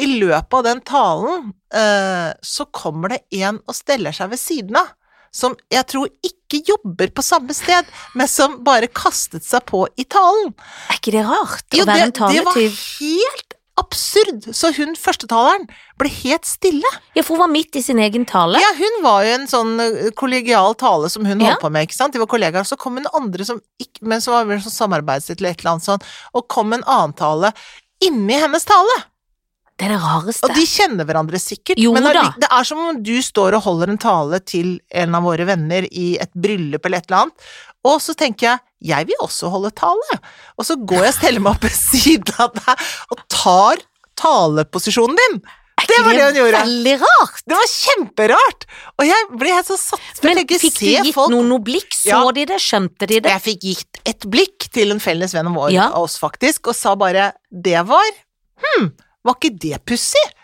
S1: i løpet av den talen, eh, så kommer det en og steller seg ved siden av som jeg tror ikke jobber på samme sted, men som bare kastet seg på i talen.
S2: Er ikke det rart
S1: Jo,
S2: å
S1: det,
S2: være en
S1: det var
S2: taletyv?
S1: helt absurd, så hun førstetaleren ble helt stille.
S2: Ja, for hun var midt i sin egen tale.
S1: Ja, hun var jo en sånn ø, kollegial tale som hun
S2: Ja.
S1: holdt på med, ikke sant, de var kollegaer, så kom en andre som ikke, men som var vel sånn samarbeidslitt eller et eller annet sånn, og kom en annen tale inni hennes tale.
S2: Det er det rareste.
S1: Og de kjenner hverandre sikkert,
S2: Jo
S1: men
S2: da.
S1: alli- det er som om du står og holder en tale til en av våre venner i et bryllup eller et eller annet, og så tenker jeg jeg vil også holde tale, og så går jeg og steller meg opp ved siden av deg og tar taleposisjonen din.
S2: Er
S1: Det
S2: ikke
S1: var det hun gjorde.
S2: Veldig rart.
S1: Det var kjemperart! Og jeg ble helt sånn satt for
S2: Men
S1: jeg tenker,
S2: fikk du
S1: se
S2: gitt
S1: folk-
S2: noen noe blikk? Så
S1: Ja.
S2: de det? Skjønte de det?
S1: Jeg fikk gitt et blikk til en felles venn av vår-
S2: Ja.
S1: av oss, faktisk, og sa bare 'det var Hm, var ikke det pussig?'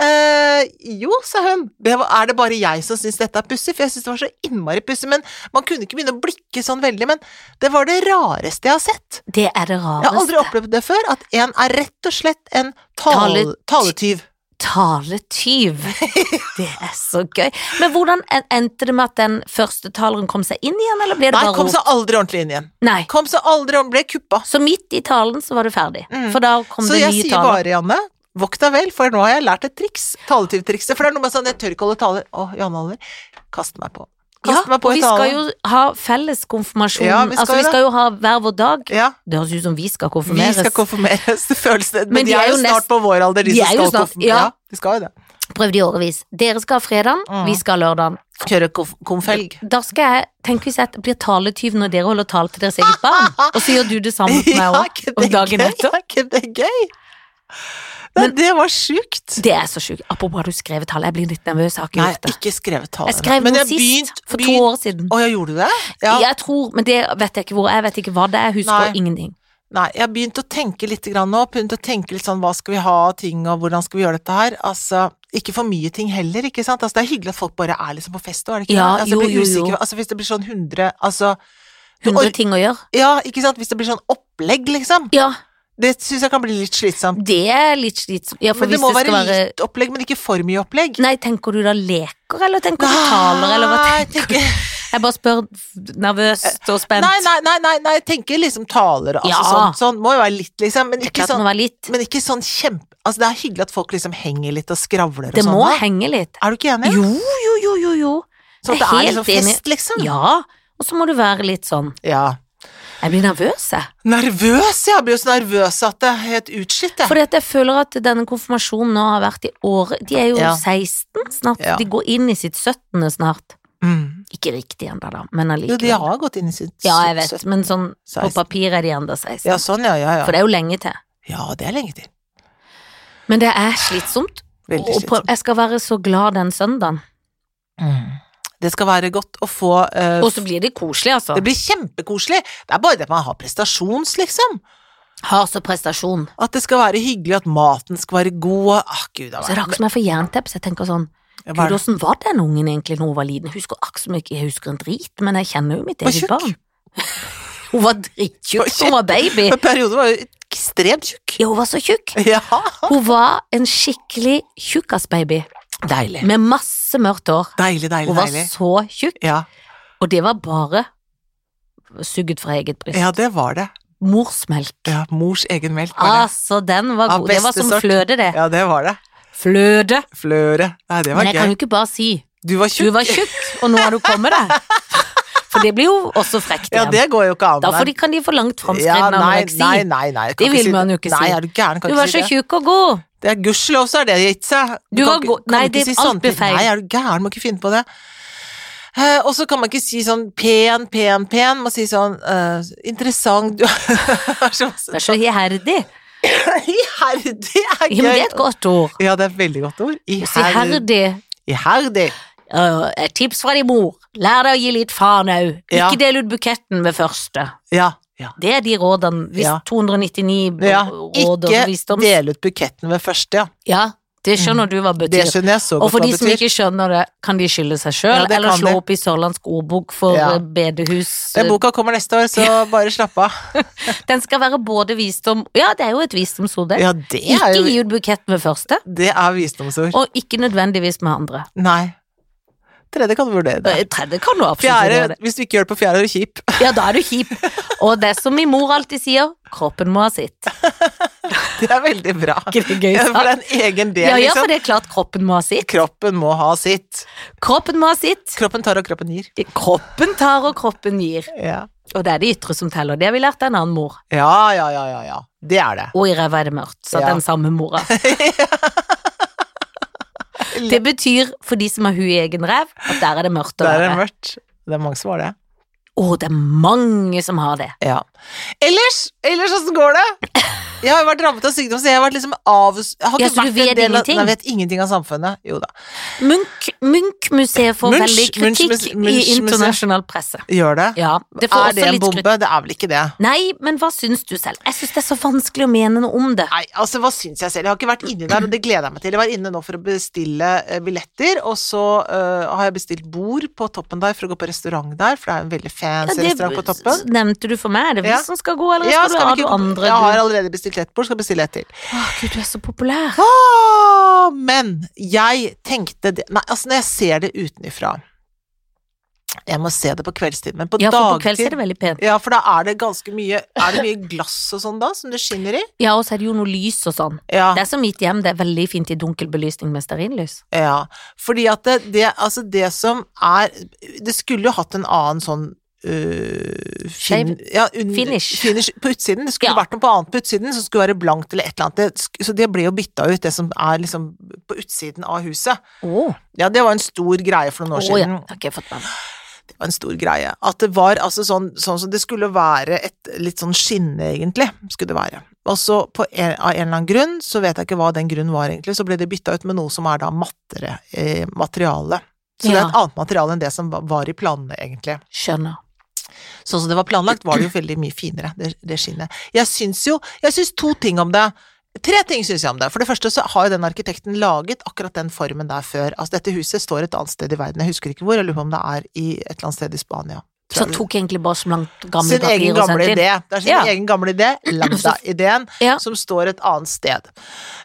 S1: Eh, jo, sa hun. Det var, er det bare jeg som syns dette er pussig? For jeg syns det var så innmari pussig. Men man kunne ikke begynne å blikke sånn veldig. Men det var det rareste jeg har sett.
S2: Det er det
S1: Jeg har aldri
S2: rareste.
S1: opplevd det før. At en er rett og slett en tal
S2: Tale-
S1: taletyv.
S2: Taletyv. Det er så gøy. Men hvordan en- endte det med at den første taleren kom seg inn igjen, eller ble det
S1: Nei,
S2: bare
S1: kom
S2: rot?
S1: seg aldri ordentlig inn igjen.
S2: Nei.
S1: Kom seg aldri ordentlig, ble kuppa.
S2: Så midt i talen så var du ferdig.
S1: Mm.
S2: For da kom
S1: Så
S2: det
S1: jeg
S2: nye
S1: sier
S2: taler.
S1: bare, Janne, vokt deg vel, for nå har jeg lært et triks. Taletyvtrikset. For det er noe med sånn, jeg tør ikke holde tale. Å, Janne Aller, kast meg på. Kast
S2: Ja,
S1: meg på
S2: og
S1: i
S2: vi skal
S1: talen.
S2: jo ha felles konfirmasjon.
S1: Ja, vi skal
S2: altså, vi
S1: jo det.
S2: skal jo ha hver vår dag.
S1: Ja,
S2: Det høres ut som vi skal
S1: vi
S2: konfirmeres.
S1: skal konfirmeres, det føles det. Men,
S2: Men
S1: de er jo snart
S2: nest-
S1: på vår alder, de,
S2: De er
S1: som
S2: jo
S1: skal
S2: snart-
S1: konfirmeres. Ja.
S2: ja.
S1: de skal jo det.
S2: Prøvd i årevis. Dere skal ha fredagen,
S1: Mm.
S2: vi skal ha lørdagen.
S1: Kjøre konfelg.
S2: Da skal jeg, tenk hvis jeg blir taletyv når dere holder tale til deres eget barn, og så gjør du det samme til meg òg,
S1: ikke
S2: om
S1: det
S2: dagen
S1: gøy?
S2: etter.
S1: Er ikke det gøy? Nei,
S2: Men-
S1: det var sjukt.
S2: Det er så sjukt. Apropos at du skrev tale, jeg blir litt nervøs, jeg har ikke
S1: Nei,
S2: gjort det.
S1: ikke skrevet tale.
S2: Jeg skrev
S1: Men
S2: noe
S1: jeg
S2: sist,
S1: begynt-
S2: for to
S1: begynt-
S2: år siden.
S1: Å, jeg gjorde det? Ja.
S2: Jeg tror, men det vet jeg ikke hvor, jeg vet ikke hva det er, jeg husker
S1: Nei.
S2: ingenting.
S1: Nei, jeg har begynt å tenke litt grann nå. Begynt å tenke litt sånn hva skal vi ha av ting, og hvordan skal vi gjøre dette her? Altså, ikke for mye ting heller, ikke sant? Altså, det er hyggelig at folk bare er liksom på fest òg, er det ikke
S2: Ja,
S1: det? Altså, jeg
S2: jo,
S1: blir
S2: jo, jo.
S1: usikker. Altså, hvis det blir sånn 100 Altså,
S2: hundre
S1: Oi.
S2: ting å gjøre.
S1: Ja, ikke sant? Hvis det blir sånn opplegg, liksom.
S2: Ja,
S1: Det syns jeg kan bli litt slitsomt.
S2: det er litt slitsomt. Ja, for
S1: men det
S2: hvis
S1: må
S2: det skal
S1: være
S2: være
S1: litt opplegg, men ikke for mye opplegg.
S2: Nei, tenker du da leker, eller tenker du taler, eller hva
S1: Nei,
S2: tenker du?
S1: tenker-
S2: Jeg bare spør nervøst og spent.
S1: Nei, nei, nei, nei, nei, jeg tenker liksom taler, altså
S2: Ja.
S1: sånn, sånn. Må jo være litt, liksom. Men ikke
S2: Klart det
S1: sånn,
S2: må være litt.
S1: men ikke sånn kjempe... Altså, det er hyggelig at folk liksom henger litt og skravler og
S2: Det
S1: sånn.
S2: må
S1: da.
S2: henge litt.
S1: Er du ikke enig?
S2: Jo, jo, jo, jo, jo.
S1: sånn at det
S2: jeg
S1: er
S2: er
S1: liksom
S2: helt enig.
S1: fest, liksom.
S2: Ja. Og så må du være litt sånn
S1: Ja.
S2: Jeg blir nervøs, jeg.
S1: Nervøs, jeg blir jo så nervøs at det er helt utslitt, jeg.
S2: Fordi at jeg føler at denne konfirmasjonen nå har vært i året De er jo
S1: Ja.
S2: 16 snart.
S1: Ja.
S2: De går inn i sitt 17. snart.
S1: Mm.
S2: Ikke riktig ennå, da, men
S1: Jo, de
S2: allikevel.
S1: har gått inn i sitt
S2: Ja, jeg vet,
S1: søtt-
S2: men sånn på
S1: 16.
S2: papir er de ennå 16.
S1: Ja, sånn, ja, ja, ja.
S2: For det er jo lenge til.
S1: Ja, det er lenge til.
S2: Men det er slitsomt.
S1: Veldig
S2: og på,
S1: slitsomt.
S2: jeg skal være så glad den søndagen.
S1: Mm. Det skal være godt å få eh,
S2: Og så blir det koselig, altså.
S1: Det blir kjempekoselig. Det er bare det at man har prestasjons, liksom.
S2: Har så prestasjon.
S1: At det skal være hyggelig, at maten skal være god. og- Ah, gud, det
S2: Så er det akkurat som jeg får jerntepp, så jeg tenker sånn
S1: Jeg
S2: Gud,
S1: bare-
S2: åssen var den ungen egentlig da hun var liten? Husker akkurat som ikke jeg husker en drit, men jeg kjenner jo mitt
S1: Var
S2: eget
S1: tjukk.
S2: barn. hun var drittjukk,
S1: Var
S2: hun var baby.
S1: Men perioden var jo ekstremt tjukk.
S2: Ja, hun var så tjukk.
S1: Ja.
S2: Hun var en skikkelig tjukkasbaby
S1: Deilig.
S2: med masse mørkt hår.
S1: Deilig, deilig,
S2: Hun var
S1: deilig.
S2: så tjukk,
S1: Ja.
S2: og det var bare sugd fra eget bryst.
S1: ja, det var det.
S2: Morsmelk.
S1: Ja, mors egen melk var det.
S2: Altså, den var
S1: Av
S2: god. Det var
S1: beste
S2: som
S1: sort.
S2: fløte, det.
S1: Ja, det var det.
S2: Fløte.
S1: Fløre. Nei, det var
S2: Men jeg kan
S1: gøy.
S2: jo ikke bare si
S1: Du var
S2: du
S1: tjukk.
S2: var tjukk, og nå har du kommet deg. For det blir jo også frekt
S1: Ja,
S2: igjen.
S1: det går jo ikke an.
S2: da
S1: nei.
S2: får de, kan de få langt
S1: Ja,
S2: framskreden
S1: nei,
S2: anoreksi.
S1: nei, nei, nei. jeg kan
S2: Det
S1: ikke
S2: vil
S1: si
S2: man jo ikke si.
S1: Nei, er du gæren, kan
S2: Du
S1: ikke
S2: var
S1: si
S2: så
S1: det.
S2: tjukk og god.
S1: Det er gudskjelov så er det gitt seg.
S2: Du
S1: kan
S2: var
S1: ikke-
S2: god-
S1: kan
S2: nei,
S1: ikke
S2: det-
S1: si
S2: alt
S1: sånne
S2: blir
S1: ting.
S2: feil.
S1: Nei, er du gæren, må ikke finne på det. Eh, og så kan man ikke si sånn pen, pen, pen, må si sånn eh, interessant Du er så
S2: Du er så iherdig.
S1: Iherdig er
S2: Ja, men det er
S1: gøy.
S2: et godt ord.
S1: Ja, det er et veldig godt ord.
S2: Så
S1: Iherdig.
S2: iherdig.
S1: Iherdig.
S2: Øh, Et tips fra din mor. Lær deg å gi litt faen au.
S1: Ja.
S2: Ikke del ut buketten ved første.
S1: Ja. ja.
S2: Det er de rådene. Hvis
S1: Ja.
S2: 299 b-
S1: ja.
S2: råd og
S1: Ikke
S2: visdoms...
S1: del ut buketten ved første, ja.
S2: Ja, det skjønner du hva
S1: Mm. Det
S2: betyr.
S1: skjønner jeg så
S2: Og
S1: godt
S2: for
S1: hva
S2: de som
S1: betyr.
S2: ikke skjønner det, kan de skylde seg
S1: Ja,
S2: sjøl,
S1: det
S2: eller
S1: kan
S2: slå
S1: de.
S2: opp i Sørlandsk ordbok for
S1: Ja.
S2: eh, bedehus.
S1: Den boka kommer neste år, så bare slapp av.
S2: Den skal være både visdom Ja, det er jo et visdomsord, det.
S1: Ja, det er
S2: Ikke
S1: jo
S2: gi ut buketten ved første,
S1: Det er visdomsord.
S2: og ikke nødvendigvis med andre.
S1: Nei. Tredje kan du vurdere det.
S2: Eh, Tredje kan du absolutt gjøre
S1: Fjerde,
S2: det.
S1: hvis du ikke gjør det på fjerde, er du kjip.
S2: Ja, da er du kjip. Og det er som min mor alltid sier, kroppen må ha sitt.
S1: Det er veldig bra.
S2: Ikke det gøy
S1: Ja, for det
S2: sagt?
S1: er en egen del,
S2: Ja, ja, for
S1: liksom.
S2: det er klart kroppen må ha sitt.
S1: Kroppen må ha sitt.
S2: Kroppen må ha sitt.
S1: Kroppen tar og kroppen gir.
S2: Kroppen tar og kroppen gir.
S1: Ja,
S2: Og det er det ytre som teller. Det har vi lært av en annen mor.
S1: ja, ja, ja. ja, ja. Det er det.
S2: Og i ræva er det mørkt, sa
S1: Ja.
S2: den samme mora. Det betyr, for de som har hu i egen ræv, at der er det mørkt å
S1: Der er det
S2: være.
S1: mørkt. Det er mange som har det.
S2: Å, det er mange som har det.
S1: Ja. Ellers, ellers åssen går det? Jeg har jo vært rammet av sykdom, så jeg har vært liksom av... Jeg har
S2: Ja,
S1: ikke
S2: så du
S1: vært
S2: vet
S1: en del av-
S2: ingenting?
S1: Nei, Jeg vet ingenting av samfunnet. Jo da.
S2: Munch- Munch-museet får
S1: Munch-
S2: veldig kritikk
S1: Munch-muse- Munch-museet.
S2: i internasjonal presse.
S1: Gjør det?
S2: Ja, det får
S1: Er det
S2: også
S1: en
S2: litt
S1: bombe?
S2: skryt.
S1: Det er vel ikke det.
S2: Nei, men hva syns du selv? Jeg syns det er så vanskelig å mene noe om det.
S1: Nei, altså hva syns jeg selv? Jeg har ikke vært inni der, og det gleder jeg meg til. Jeg var inne nå for å bestille eh, billetter, og så eh, har jeg bestilt bord på toppen der for å gå på restaurant der, for det er en veldig
S2: Ja,
S1: fancy
S2: det
S1: restaurant på toppen.
S2: s- nevnte du for meg. Er det vi
S1: Ja.
S2: som skal gå, eller
S1: Ja,
S2: skal, du ha
S1: vi
S2: noe andre?
S1: jeg har
S2: Du?
S1: allerede bestilt ett bord, skal bestille ett til.
S2: Å, Gud, du er så populær.
S1: Åh, men jeg tenkte det Nei, altså når jeg ser det utenifra Jeg må se det på kveldstid, men på
S2: Ja, for på kvelds
S1: dagtid
S2: er det veldig pent.
S1: ja, for da er det ganske mye Er det mye glass og sånn da, som det skinner i?
S2: Ja, og så er det jo noe lys og sånn.
S1: Ja.
S2: Det er som mitt hjem, det er veldig fint i dunkel belysning med stearinlys.
S1: Ja, fordi at det, det, altså det som er Det skulle jo hatt en annen sånn øh, fin,
S2: Shave.
S1: ja, un-
S2: Finish.
S1: finish på utsiden. Det skulle
S2: Ja.
S1: vært noe på annet på utsiden som skulle være blankt eller et eller annet. Det, sk- så det ble jo bytta ut, det som er liksom på utsiden av huset.
S2: Å,
S1: Ja, det var en stor greie for noen år
S2: Å, ja.
S1: siden.
S2: Det har ikke jeg fått med meg.
S1: Det var en stor greie. At det var altså sånn, sånn som det skulle være et litt sånn skinne, egentlig, skulle det være. Og så på en, av en eller annen grunn, så vet jeg ikke hva den grunnen var egentlig, så ble det bytta ut med noe som er da mattere eh, materiale. Så det er
S2: Ja.
S1: et annet materiale enn det som va- var i planene, egentlig.
S2: Skjønner.
S1: Sånn som det var planlagt, var det jo veldig mye finere, det, det skinnet. Jeg syns jo Jeg syns to ting om det. Tre ting syns jeg om det. For det første så har jo den arkitekten laget akkurat den formen der før. Altså dette huset står et annet sted i verden, jeg husker ikke hvor, jeg lurer på om det er i et eller annet sted i Spania.
S2: Så
S1: beklager.
S2: tok jeg egentlig bare så langt gammel
S1: sin egen
S2: papir og
S1: gamle
S2: sendte inn.
S1: idé. Det er sin
S2: Ja.
S1: egen gamle idé, Lambda-ideen,
S2: Ja.
S1: som står et annet sted.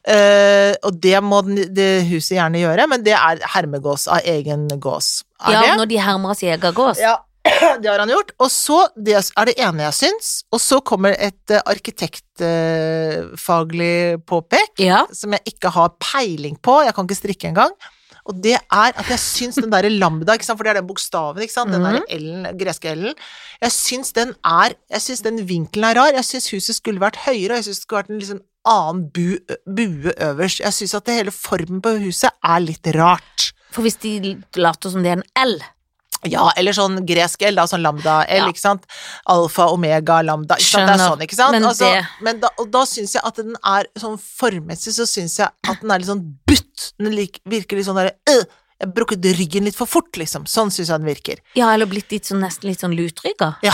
S1: Eh, og det må den, det huset gjerne gjøre, men det er hermegås av egen gås. Er
S2: Ja,
S1: det?
S2: når de hermer sin egen gås.
S1: Ja, det har han gjort. Og så det er det ene jeg syns, og så kommer et eh, arkitektfaglig eh, påpek
S2: Ja.
S1: som jeg ikke har peiling på, jeg kan ikke strikke engang. Og det er at jeg syns den derre lambda, ikke sant? for det er den bokstaven, ikke sant? den der L-en, greske L-en, jeg syns den er Jeg syns den vinkelen er rar. Jeg syns huset skulle vært høyere, og jeg syns det skulle vært en liksom annen bu, bue øverst. Jeg syns at det hele formen på huset er litt rart.
S2: For hvis de later som det er en L
S1: Ja, eller sånn gresk L, da, sånn lambda-L,
S2: Ja.
S1: ikke sant. Alfa, omega, lambda, ikke sant. Det er
S2: Skjønner,
S1: sånn, ikke sant.
S2: men
S1: altså,
S2: det-
S1: men da, og da syns jeg at den er sånn formmessig, så syns jeg at den er litt sånn butt. Den lik, virker litt sånn derre øh, Jeg brukket ryggen litt for fort, liksom. Sånn syns jeg den virker.
S2: Ja, eller blitt litt sånn, nesten litt sånn lutrygga.
S1: Ja.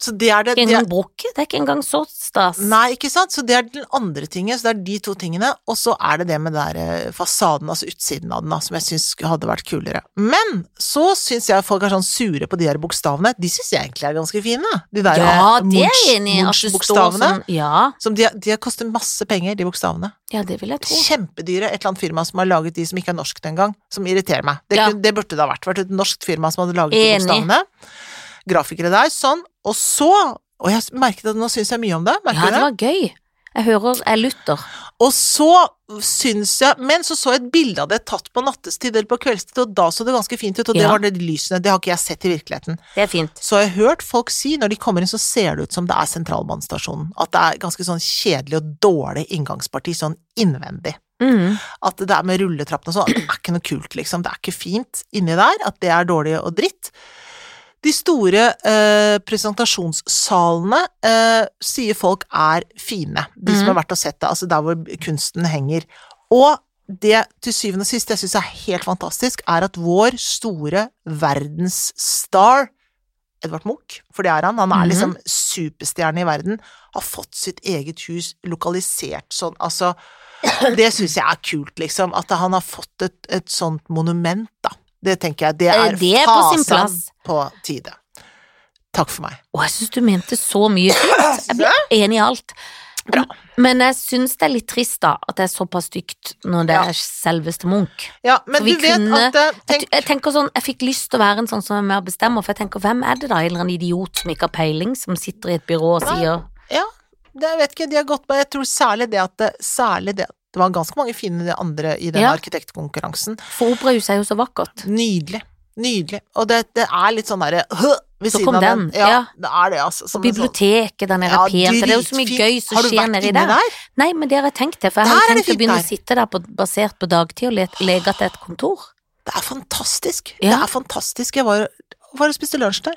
S1: Så det er det.
S2: Ikke
S1: det er,
S2: engang brukket. Det er ikke engang så stas.
S1: nei, ikke sant. Så det er den andre tingen. Så det er de to tingene. Og så er det det med der eh, fasaden, altså utsiden av den, da, som jeg syns hadde vært kulere. Men så syns jeg folk er sånn sure på de der bokstavene. De syns jeg egentlig er ganske fine. De der
S2: Ja,
S1: eh,
S2: det er
S1: Munch-
S2: jeg enig i. At det står
S1: Munch-bokstavene.
S2: sånn Ja,
S1: Som de, de koster masse penger, de bokstavene.
S2: ja det vil jeg tro.
S1: Kjempedyre. Et eller annet firma som har laget de som ikke er norsk den gang, som irriterer meg. Det,
S2: Ja.
S1: kunne, det burde det ha vært. Vært et norsk firma som hadde laget de
S2: Enig.
S1: bokstavene. Grafikere der, sånn. Og så Og jeg merket at nå syns jeg mye om det.
S2: Ja,
S1: Merker du
S2: det
S1: det?
S2: var gøy. Jeg hører Jeg lytter.
S1: Og så syns jeg Men så så jeg et bilde av det tatt på nattestid eller på kveldstid, og da så det ganske fint ut, og det
S2: Ja.
S1: var det lysene. Det har ikke jeg sett i virkeligheten.
S2: Det er fint.
S1: Så har jeg hørt folk si, når de kommer inn, så ser det ut som det er sentralbanestasjonen. At det er ganske sånn kjedelig og dårlig inngangsparti, sånn innvendig.
S2: Mhm.
S1: At det der med rulletrappen og sånn, det er ikke noe kult, liksom. Det er ikke fint inni der. At det er dårlig og dritt. De store eh, presentasjonssalene eh, sier folk er fine. De som
S2: Mhm.
S1: har vært og sett det, altså der hvor kunsten henger. Og det til syvende og sist jeg syns er helt fantastisk, er at vår store verdensstar, Edvard Munch, for det er han, han er
S2: Mhm.
S1: liksom superstjerne i verden, har fått sitt eget hus lokalisert sånn, altså Det syns jeg er kult, liksom. At han har fått et, et sånt monument, da. Det tenker jeg, det
S2: Eh,
S1: er,
S2: Det er på
S1: fasen
S2: sin plass.
S1: på tide. Takk for meg.
S2: Og jeg syns du mente så mye fint. Jeg blir enig i alt.
S1: Bra.
S2: Men jeg syns det er litt trist, da, at det er såpass stygt når det
S1: Ja.
S2: er selveste Munch.
S1: Ja, men
S2: For vi
S1: du vet
S2: kunne-
S1: at eh,
S2: Jeg,
S1: tenk,
S2: t- jeg tenker sånn, jeg fikk lyst til å være en sånn som er med og bestemmer, for jeg tenker, hvem er det da, en eller annen idiot som ikke har peiling, som sitter i et byrå og
S1: Nei.
S2: sier
S1: Ja, det, jeg vet ikke, de har gått på Jeg tror særlig det at det, særlig det, det var ganske mange fine andre i den
S2: Ja.
S1: arkitektkonkurransen.
S2: For operahuset er jo så vakkert.
S1: Nydelig. Nydelig. Og det, det er litt sånn derre «Hø!» ved
S2: Så
S1: siden
S2: kom
S1: av
S2: den,
S1: Ja,
S2: ja.
S1: det er det, altså.
S2: Og
S1: Som en sånn-
S2: biblioteket der nede
S1: Ja,
S2: er pent, og det er jo så mye
S1: dritfint.
S2: gøy som
S1: Har du
S2: skjer
S1: vært
S2: nedi
S1: inne
S2: der. Nei, men det har jeg tenkt det, for jeg
S1: Der
S2: har
S1: er
S2: jo
S1: det
S2: tenkt å
S1: fint
S2: begynne
S1: der.
S2: å sitte der på, basert på dagtid og le- leke til et kontor.
S1: Det er fantastisk.
S2: Ja.
S1: Det er fantastisk. Jeg var, var og spiste lunsj der.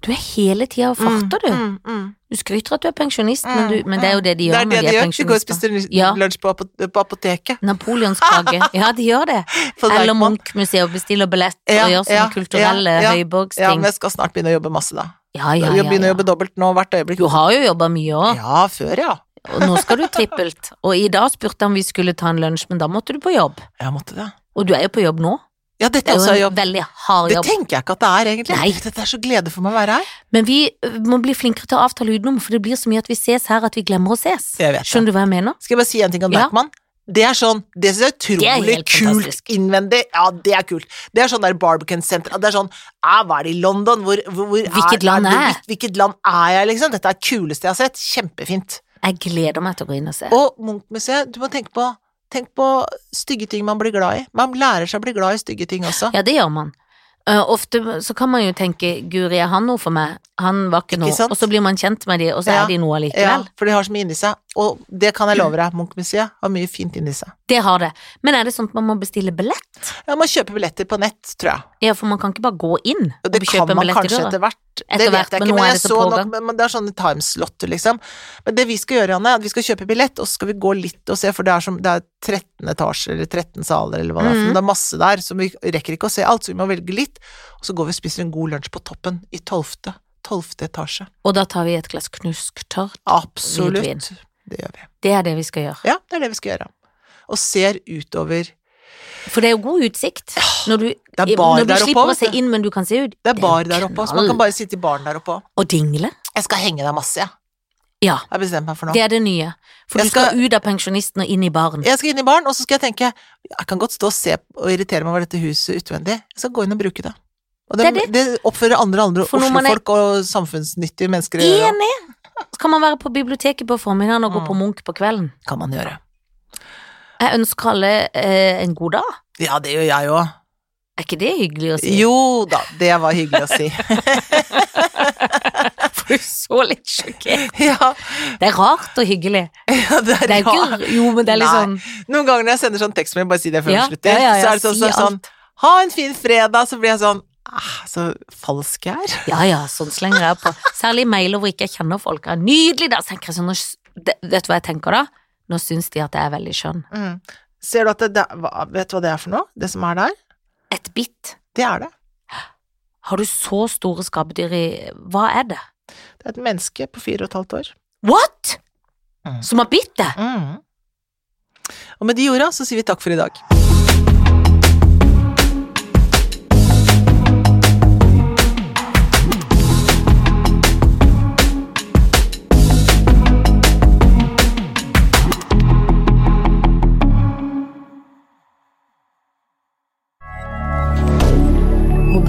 S2: Du er hele tida og farter, du.
S1: Mm, mm, mm.
S2: Du skryter at du er pensjonist,
S1: Mm,
S2: men, du, men det er jo det
S1: Det
S2: de gjør
S1: er det
S2: når de
S1: de
S2: er
S1: gjør. De går og
S2: pensjonister.
S1: spiser
S2: Ja.
S1: lunsj på, apo- på apoteket.
S2: Napoleonskake. Ja, de gjør det.
S1: På
S2: Eller
S1: Deichman.
S2: Munch-museet og bestiller billett
S1: Ja,
S2: og gjør sånne
S1: ja,
S2: kulturelle
S1: ja, ja. Ja,
S2: høyborgsting.
S1: men jeg skal snart begynne å jobbe masse, da.
S2: Ja, ja,
S1: Jeg
S2: ja,
S1: begynner å
S2: ja.
S1: jobbe dobbelt nå hvert øyeblikk.
S2: Du har jo jobba mye òg,
S1: Ja, før, ja.
S2: og nå skal du trippelt. Og i dag spurte han om vi skulle ta en lunsj, men da måtte du på jobb.
S1: Jeg måtte det.
S2: Og du er jo på jobb nå.
S1: Ja,
S2: Det
S1: dette
S2: er
S1: også er
S2: jo en
S1: jobb.
S2: veldig hard
S1: Det
S2: jobb.
S1: tenker jeg ikke at det er, egentlig.
S2: Nei.
S1: Dette er så glede for meg å være her.
S2: Men vi ø, må bli flinkere til å avtale utenom, for det blir så mye at vi ses her at vi glemmer å ses.
S1: Jeg vet det.
S2: Skjønner du hva jeg mener?
S1: Skal jeg bare si en ting om
S2: Ja.
S1: Deichman? Det er sånn, det syns jeg er
S2: Det er
S1: utrolig
S2: helt
S1: kult
S2: fantastisk.
S1: innvendig. Ja, det er kult. Det er sånn der Barbican-senter. Det er sånn, æ, hva er det i London? Hvor, hvor, hvor
S2: Hvilket land
S1: det?
S2: er jeg?
S1: Hvil- Hvilket land er jeg, liksom? Dette er det kuleste jeg har sett. Kjempefint.
S2: Jeg gleder meg til å gå inn og se.
S1: Og Munch-museet, du må tenke på Tenk på stygge ting man blir glad i. Man lærer seg å bli glad i stygge ting også.
S2: Ja, det gjør man. Eh, ofte så kan man jo tenke 'Guri, er han noe for meg?' Han var ikke
S1: Ikke
S2: noe.
S1: sant?
S2: Og så blir man kjent med de, og så
S1: Ja.
S2: er de noe allikevel.
S1: Ja, for de har så mye inni seg. Og det kan jeg love deg, Munch-museet har mye fint inni seg.
S2: Det har det. Men er det sånn at man må bestille billett?
S1: Ja, man kjøper billetter på nett, tror jeg.
S2: Ja, for man kan ikke bare gå inn og
S1: Og det
S2: kjøpe
S1: kan
S2: en
S1: man
S2: billett i
S1: kanskje
S2: døra.
S1: etter hvert.
S2: Etter
S1: det vet
S2: hvert,
S1: jeg
S2: men
S1: ikke,
S2: nå
S1: men,
S2: er
S1: jeg
S2: det så
S1: så nok,
S2: pågang.
S1: men men det er sånne timeslotter, liksom. Men det vi skal gjøre, Anne, er at vi skal kjøpe billett, og så skal vi gå litt og se, for det er, som, det er 13 etasjer, eller 13 saler, eller hva det er, for noe.
S2: Mhm.
S1: det er masse der, så vi rekker ikke å se alt, så vi må velge litt. Og så går vi og spiser en god lunsj på toppen, i 12. 12. etasje.
S2: Og da tar vi et glass knusk tørr. Hvitvin.
S1: Absolutt. Det gjør vi.
S2: Det er det vi skal gjøre.
S1: Ja, det er det vi skal gjøre. Og ser utover
S2: For det er jo god utsikt når du,
S1: Det er bar
S2: når du
S1: der
S2: slipper
S1: oppe
S2: å se
S1: òg.
S2: inn, men du kan se ut.
S1: Det er bar
S2: jo
S1: der oppe også, så
S2: knall.
S1: man kan bare sitte i baren der oppe òg.
S2: Og dingle.
S1: Jeg skal henge deg masse, jeg.
S2: Ja,
S1: Jeg har bestemt meg for nå.
S2: det er det nye. For
S1: Jeg
S2: du skal ut av pensjonisten og inn i baren.
S1: Jeg skal inn i baren, og så skal jeg tenke Jeg kan godt stå og se og irritere meg over dette huset utvendig. Jeg skal gå inn og bruke det. Og det,
S2: Det
S1: det,
S2: er
S1: oppfører andre, andre
S2: For når man er-
S1: Oslo-folk og samfunnsnyttige mennesker å gjøre.
S2: Enig! Så kan man være på biblioteket på formiddagen og gå
S1: Mm.
S2: på Munch på kvelden.
S1: Kan man gjøre.
S2: Jeg ønsker alle eh, en god dag.
S1: Ja, det gjør jeg òg.
S2: Er ikke det hyggelig å si?
S1: Jo da, det var hyggelig å si.
S2: for du er så litt sjokkert.
S1: ja,
S2: Det er rart og hyggelig.
S1: ja, det
S2: Det
S1: er
S2: er
S1: rart.
S2: ikke Jo, men det er litt
S1: Nei.
S2: sånn
S1: Noen ganger når jeg sender sånn tekstmelding, bare si det før
S2: Ja,
S1: vi slutter,
S2: ja, ja, ja,
S1: så er det sånn,
S2: si
S1: sånn, sånn Ha en fin fredag, så blir jeg sånn ah, Så falsk jeg er.
S2: Ja ja, sånn slenger jeg på. Særlig mailer hvor ikke jeg kjenner folk. Ja, nydelig, da! Så tenker jeg sånn, nå, s- det- vet du hva jeg tenker da? Nå syns de at jeg er veldig skjønn.
S1: Mm. Ser du at det, det hva, Vet du hva det er for noe? Det som er der?
S2: Et bitt.
S1: Det er det.
S2: Har du så store skapdyr i Hva er det?
S1: Det er et menneske på fire og et halvt år.
S2: What?!
S1: Mm.
S2: Som har bitt det?
S1: Og med de orda så sier vi takk for i dag.